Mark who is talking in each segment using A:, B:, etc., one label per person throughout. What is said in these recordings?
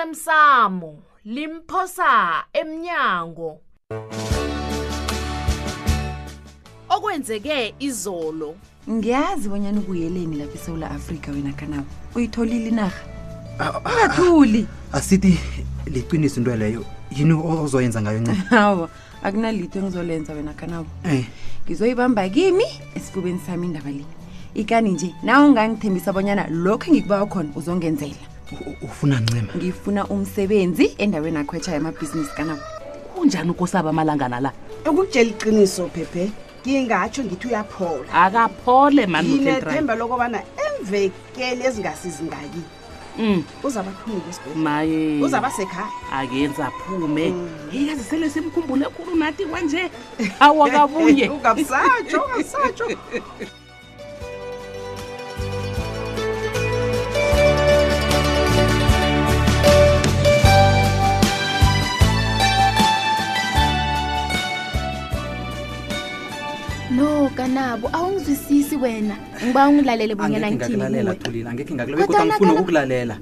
A: osemsamo limphosa emnyango okwenzeke izolo
B: ngiyazi bonyana ubuyeleni lapha esewula afrika wena kanabo uyitholile inarha ungathuli
C: asithi Ah, liqiniso into leyo yini o- ozoyenza ngayo ncema
B: hawa akunalitho engizolenza wena kanabo
C: um
B: ngizoyibamba kimi esifubeni sami indaba le ikani nje nawe ungangithembisa bonyana lokhu engikubawa khona uzongenzela
C: ufuna ncema
B: ngifuna umsebenzi endaweni akhwetsha yamabhizinisi kanabo
D: kunjani ukosaba amalangana la
E: ukukutshela iqiniso phephe ngingatsho ngithi uyaphola
D: akaphole mani
E: nginethemba lokubana emvekeli ezingasizingaki
D: Mm.
E: uzaba phumile esibhedlela
D: maye
E: uzaba sekhaya
D: akenza aphume yeyazi sele simkhumbule khulu nathi kwanje
F: Mm.
D: awakabuye
E: ungasatsho ungasatsho
G: no kanabo awungizwisisi wena ngiba ungilalele bonyana
C: angekhe
G: ngithini
C: ngakulalela
G: kuwe
C: thulile angekhe ngakulalela
G: Kodwana
C: kodwa angifuni
G: kana-
C: ukukulalela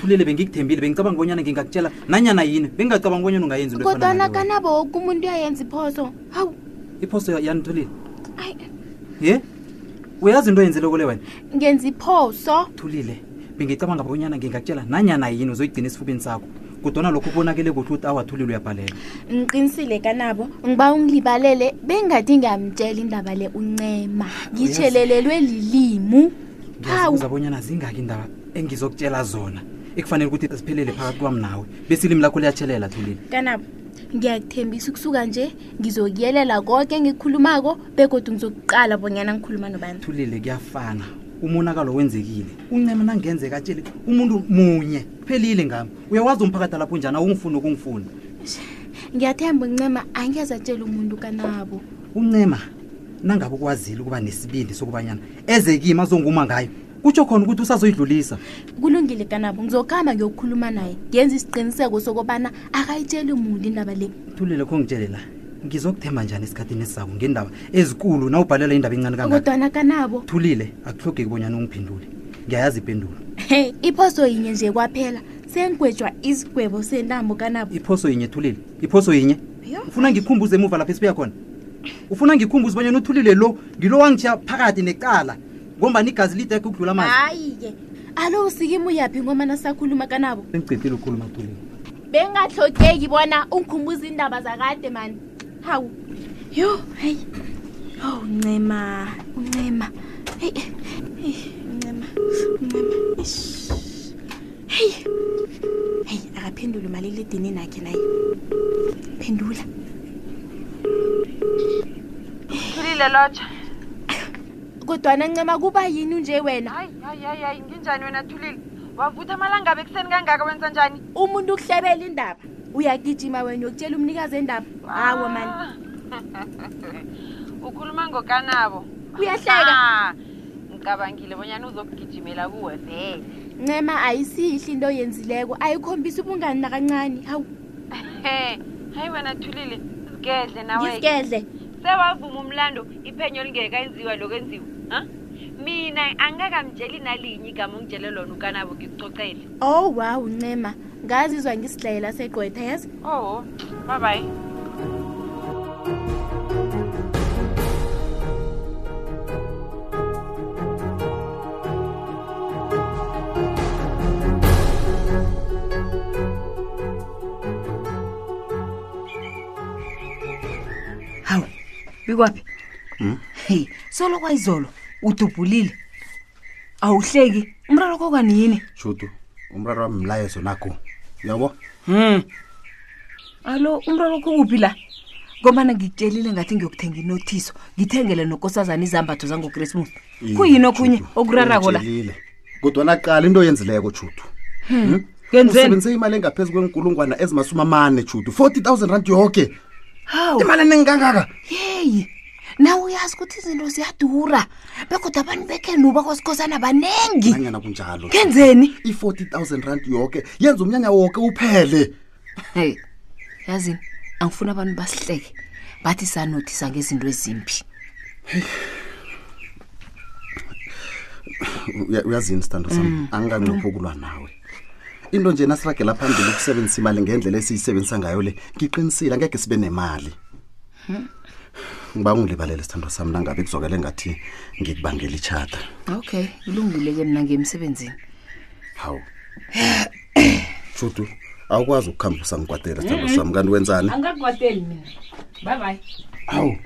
C: thulile bengikuthembile bengicabanga bonyana ngingakutshela nanyana yini bengingacabanga bonyana ungayenzi into efana
G: kodwana
C: naleyo.
G: kanabo woke umuntu uyayenza iphoso hawu
C: iphoso ya- yani thulile
G: ayi,
C: ye uyazi into oyenzeleko le wena
G: ngenza iphoso
C: thulile bengicabanga bonyana ngingakutshela nanyana yini uzoyigcina esifubeni sakho kodwana lokho kubonakele kuhle ukuthi awathulile uyabhalela
G: ngiqinisile kanabo ngiba ungilibalele bengathi ngiyamtshela indaba le uncema ngitshelelelwe lilimu hawu
C: ngiyazibuza bonyana zingaki indaba engizokutshela zona ekufanele ukuthi ziphelele phakathi kwami nawe bese ilimi lakho liyatshelela thulile
G: kanabo ngiyakuthembisa ukusuka nje ngizokuyelela konke engikukhulumako begodwa ngizokuqala bonyana ngikhuluma nobani
C: thulile kuyafana umonakalo wenzekile uncema nangenzeka atshele umuntu munye phelile ngami uyawazi umphakathi lapho njani awungifuni ukungifuni
G: ngiyathemba uncema angezatshela umuntu kanabo
C: uncema nangabe ukwazile ukuba nesibindi sokubanyana eze kimi azonguma ngayo kutsho khona ukuthi usazoyidlulisa
G: kulungile kanabo ngizokuhamba ngiyokukhuluma naye ngenza isiqiniseko sokobana akayitsheli muntu indaba le
C: thulile kho ngitshele la ngizokuthemba njani esikhathini esizako ngendaba ezikulu nawubhalela indaba encane kangaka
G: kodwana kanabo
C: thulile akuhlogeki bonyana ungiphendule ngiyayazi ipendulo
G: hey iphoso yinye nje kwaphela sengigwejwa isigwebo sentambo kanabo
C: iphoso yinye thulile iphoso yinye
G: Yo.
C: ufuna ngikhumbuze emuva lapho esibuya khona ufuna ngikhumbuze bonyana uthulile lo ngilo wangitshiya phakathi necala ngombani igazi lideke ukudlula amazi
G: hayi-ke alo usikimu yaphi ngomana sakhuluma kanabo
C: sengicethile ukukhuluma thulile
G: bengahlokeki bona ungikhumbuza indaba zakade mani hawu yo hayi ow uncema uncema heyi heyi uncema uncema Ish. heyi heyi akaphendule umaliledinini akhe naye phendula
H: thulile lotsha
G: kodwana ncema kuba yini unje wena
H: hayi hayi hayi hayi nginjani wena thulile wavutha amalanga bekuseni kangaka wenza njani
G: umuntu ukuhlebela indaba uyagijima wena uyokutshela umnikazi endaba hawo mani
H: ukhuluma ngokanabo
G: Uyahleka.
H: Ah, ngicabangile bonyana uzokugijimela kuwe vele
G: ncema ayisihle into oyenzileko ayikhombisa ubungani nakancane hawu
H: He, hayi wena thulile zigedle nawe
G: ngisigedle
H: sewavuma umlando iphenyo lingekayenziwa lokwenziwa ha mina angakamtsheli nalinye igama ongitshele lona ukanabo ngikucocele
G: oh wow ncema ngazizwa ngisidlayela segqwetha yazi
H: oho babayi
F: hawu bikwaphi hey solo kwayizolo udubhulile awuhleki umraro kokani yini
I: shudu umraro wami mlayezo nakho uyabo
F: hmm alo umraro kho uphi la ngobana ngikutshelile ngathi ngiyokuthenga inothiso ngithengele nokosazana izambatho zangokrismus kuyini okhunye okurarako la
I: kodwana qala into oyenzileko shudu
F: Hmm,
I: Hmm?
F: kenzeni
I: usebenzise imali engaphezu kwenkulungwana ezimasumi amane shudu 40 000 rand yoke
F: hawu
I: imali enengikangaka
F: yeyi nawe uyazi ukuthi izinto ziyadura bekodwa abantu bekhenu bakwasikhosana banengi
I: nanyana kunjalo
F: kenzeni
I: i-40 000 rand yoke yenza umnyanya woke uphele
F: heyi yazini angifuni abantu basihleke bathi sanothisa ngezinto ezimbi
I: Uya- uyazini sithando sami angikanqophokulwa nawe into nje nasiragela phambili ukusebenzisa imali ngendlela esiyisebenzisa ngayo le ngiqinisile angeke sibe nemali ngiba ungilibalele sithando sami nangabe kuzokele ngathi ngikubangela itshata
F: okay ilungile ke mna ngemsebenzini
I: hawu judu awukwazi ukukhamba usangikwatela sithando sami kanti wenzani
F: angakwateli mina bye bye
I: hawu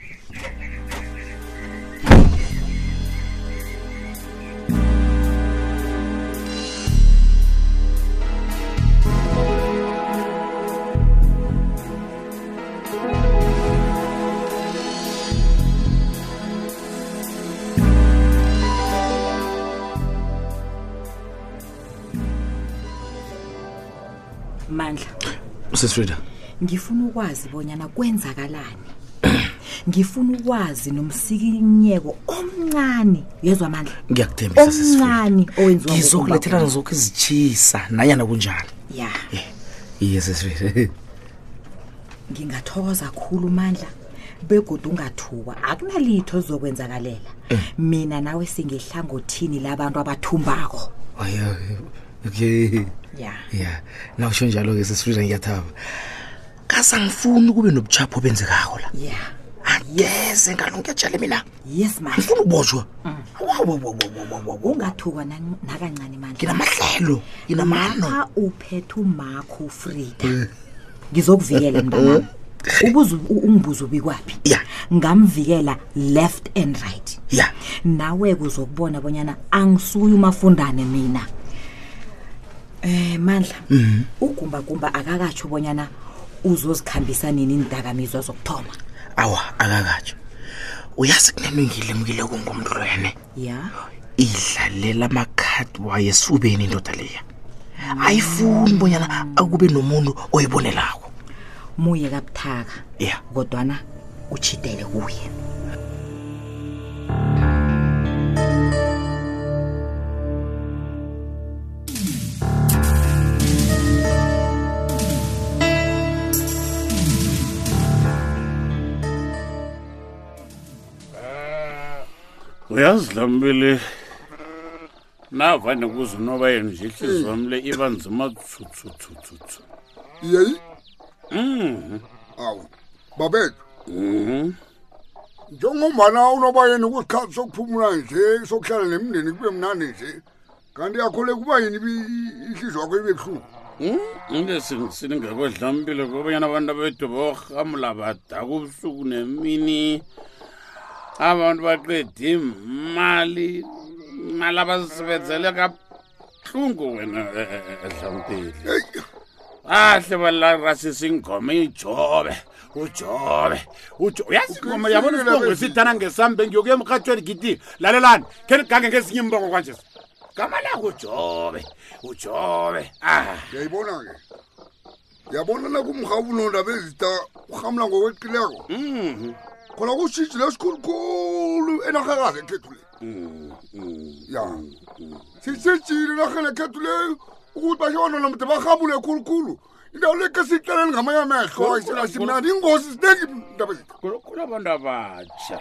J: mandla
I: sisfrida
J: ngifuna ukwazi bonyana kwenzakalani ngifuna ukwazi nomsikinyeko omncane yezwa mandla
D: ngiyakuthembisa
J: omncane owenziwa
D: ngizokulethela
J: ngubaba.
D: zokho izitshisa nanyana kunjalo
J: ya
D: iye sesifethu
J: ngingathokoza khulu mandla begoda ungathukwa akunalitho lizokwenzakalela mina nawe singehlangothini labantu abathumbako
D: okay
J: ya
D: ya nawusho njalo-ke sesifrida ngiyathaba kasangifuni kube nobuchapho obenzekako la
J: ya
D: Ah, angeze ngalungetshele mina
J: yes mandla
D: ngifuna ubotshwa
J: ungathukwa nan- nakancane mandla
D: nginamahlelo nginamano Eh.
J: Lapha uphethe umakho ufrida ngizokuvikela mntanami ubuze u- ungibuze ubikwaphi ngamvikela left and right
D: ya
J: nawe kuzokubona bonyana angisuyi umafundane mina eh mandla
D: Mhm.
J: ugumbagumba akakatsho bonyana uzozikhambisa nini indakamizwa zokuthoma
D: awa akakatsho uyazi kunento engiyilemukile kungumdlwene
J: ya
D: idlalela amakhadi wayo esifubeni indoda leya ayifuni bonyana akube nomuntu oyibonelako
J: muye kabuthaka
D: ya
J: kodwana uchidele kuye
K: uyazi lambile navane kuze unoba yena nje ihliziyo wami le iba nzima tsutsutsutsu
L: yeyi
K: Mhm.
L: awu babethu njengombana unobayeni kusikhathi sokuphumula nje sokuhlala nemndeni kube mnandi nje kanti yakhole kuba yini ibi- ihliziyo yakho ibe buhlungu
K: ngesingisini ngekodlambile kobanyana abantu abethu borhamula badaka ubusuku nemini abantu baqeda imali imali abazisebenzele kabuhlungu wena eh, edlampile ahle balarasisa ingoma ijobe ujobe ujo uyazi ingoma yabona
L: Uqinisile
K: isibongo
L: bese.
K: sidana ngesambe ngiyokuya emrhatshweni githi lalelani khe nigange ngezinye imbongo kwanje gama lako ujobe ujobe ah
L: yayibona-ke yabona nakumrhawunonda bezita urhamla ngokweqileko khona kushijile esikhulukhulu enarhakazi ekhethu le ya sisejile enarheni ekhethu leyo ukuthi bashe abantwana mde barhamule khulukhulu indawo lekhe siyiqaleni ngamanye amehlo ayisenasimnandi ingozi zinengi ndaba zethu
K: kulabantu abatsha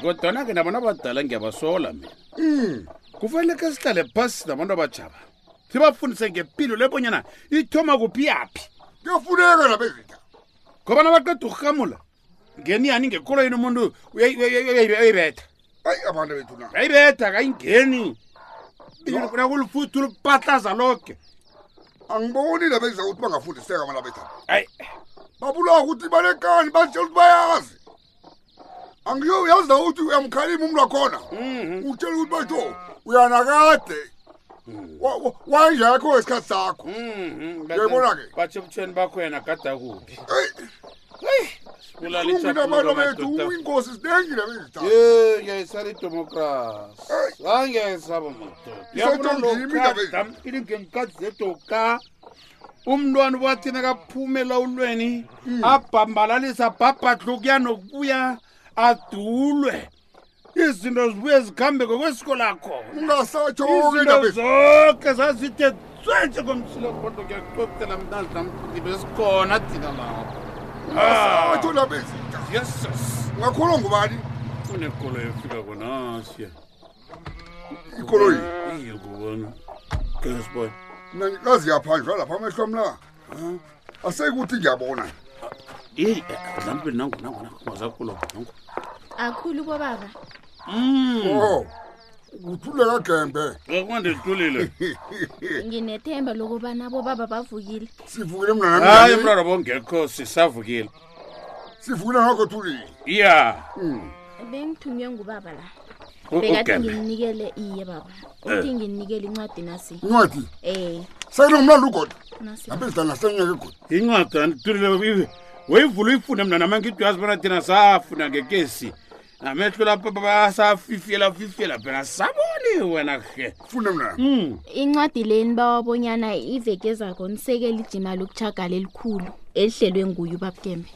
K: kodwana-ke nabantu abadala ngiyabasola mina
L: Mm.
K: kufanele ke sihlale phasi nabantu abajaba sibafundise ngempilo lebonyana ithoma kuphi yaphi
L: kuyafuneka nabezitha
K: ngoba nabaqeda ukurhamula ngeniyani ngekoloyini umuntu uyayi- uyayi- uyayi- uyayibetha
L: ayi abantu bethu na
K: uyayibetha kayingeni nakulufuthu lupatlaza loke
L: angiboni nabeza ukuthi bangafundiseka abana bethu
K: hayi
L: babulawa ukuthi balekani batshela ukuthi bayazi angiyo uyazi nawe ukuthi uyamkhalima umntu wakhona
K: Mhm.
L: utshela ukuthi batho uyanakade Wa- wa- wayengekho wesikhathi sakho
K: Mm-hmm.
L: uyayibona-ke
K: batshebutsheni bakho yena gada kuphi Sibulala
L: Ungina
K: itjhaphuluko,
L: abantu bethu
K: madoda.
L: inkosi zinengile bezitha
K: ye ngiyayisala idemokrasi angiyayisaba
L: Isentongimi indaba yethu.
K: madodaamphili ngenkathi zedoka umntwana ubathi nakaphume elawulweni
L: Mm.
K: abhambalalisa abhabhadla ukuya nokubuya adulwe izinto zibuye zikhambe ngokwesikolakho
L: ungasatsho-ke
K: izinto
L: ndabethu
K: zonke zazithe tswentshe komsilo kodwa ngiyakuxoxela mnazamkhulu besikhona thina lapho
L: ungasatsho ndabezitha
K: yesus
L: ungakholwa ngubani
K: unekolo efika konasiya
L: ikoloyi
K: iye kubona qiniso boy
L: mina ngikazi yaphanjwa lapha amehlo mla aseyikuthi ngiyabona
K: yeyi dlampeli eh, nangu nangu nangu wazakulo nangu
G: akhulu bobaba
K: Hmm.
L: o uthuleka gembe
K: akwanditulile
G: nginethemba lokubana bobaba bavukile
L: sivukile
K: hayi mraro bongekho sisavukile
L: sivukile ngakho thulile
K: ya
G: bengithunywe ngubaba la
K: U-
G: bengathi
K: uGembe.
G: ngimnikele iye baba
L: Eh.
G: uthi ngimnikele incwadi nasi
L: Incwadi?
G: eh
L: sekunomlando ugoda
G: nasi
L: lapha isidala senyeke goda
K: incwadi anditulile weyivula uyifune mna namangidi uyazi bona thina safuna ngekesi amehlo lapha basafifiyela fifiyela phela saboni wena he
L: fune mna
G: incwadi leni bawabonyana iveke zakho nisekele ijima lokuchagala elikhulu elihlelwe nguye ubabukembe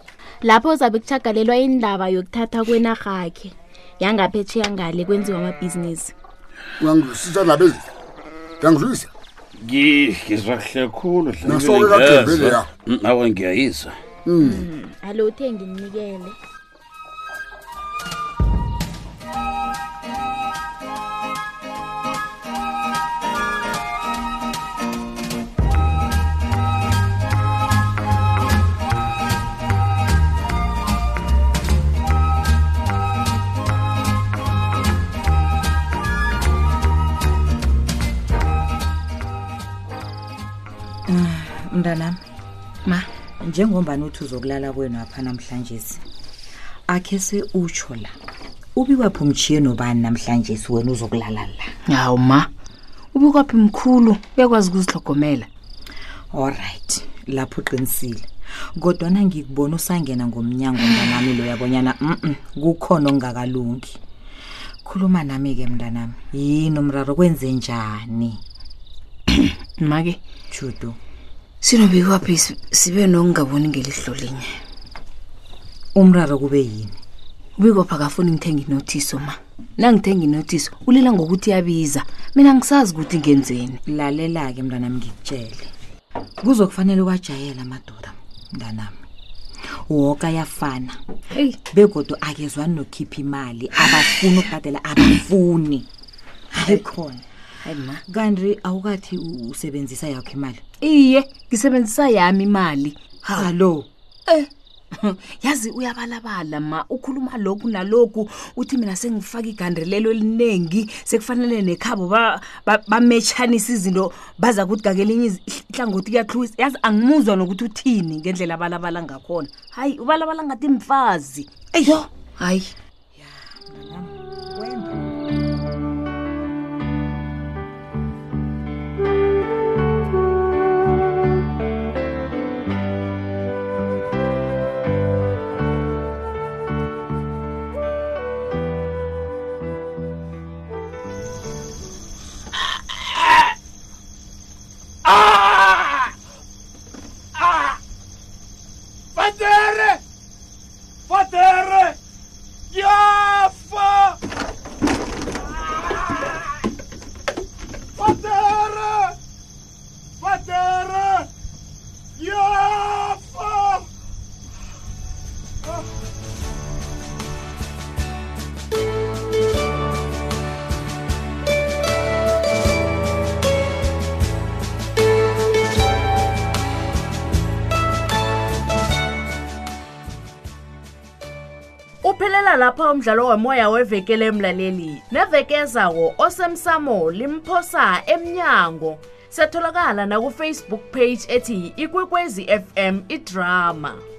G: lapho zabe kuchagalelwa indaba yokuthatha kwenarha yakhe yangaphetsheya ngale kwenziwa amabhizinisi
L: uyangizwisisa nabezitha uyangizwisisa
K: ngizwa kuhle khulu
L: Naso-ke kaGembele, ya.
K: Mm, awe ngiyayizwa
G: alo uthe ngimnikele
J: Ah, mntanami ma njengombani uthi uzokulala kwenu apha namhlanje akhe se utsho la ubikwaphi umtshiye nobani namhlanje wena uzokulala la
F: hawu ma ubikwaphi mkhulu uyakwazi ukuzihlogomela
J: allright lapho uqinisile kodwana ngikubona usangena ngomnyango mntanami lo yabonyana mm kukhona okungakalungi khuluma nami-ke mntanami yini umraro kwenze njani
F: make
J: judu
F: sinobikwaphi si- sibe nokungaboni ngelihlo linye
J: umraro kube yini
F: ubikwaphi akafuni ngithenge inothiso ma nangithenga inothiso ulela ngokuthi iyabiza mina ngisazi ukuthi ngenzeni
J: lalela-ke mntanami ngikutshele kuzokufanele wajayela madoda mntanami woke ayafana
F: eyi
J: begodo akezwani nokhipha imali abafuni ukubhadela abafuni ayikhona
F: hayi ma
J: kanti awukathi u- usebenzisa yakho imali
F: iye ngisebenzisa yami imali
J: hallo
F: eh yazi uyabalabala ma ukhuluma lokhu nalokhu uthi mina sengifaka igandrelelo eliningi sekufanele nekhabo ba- ba- bametshanisa izinto baza kuthi ngakelinye iz- ihlangothi kuyahlukisa yazi angimuzwa nokuthi uthini ngendlela abalabala ngakhona hayi ubalabala ngathi mfazi eyo hayi
K: fatere fatere ngiyafa fatere fatere ngiyafa
A: uphelela lapha umdlalo womoya wevekele emlaleli neveke ezawo osemsamo limphosa emnyango setholakala nakufacebook page ethi ikwekwezi fm idrama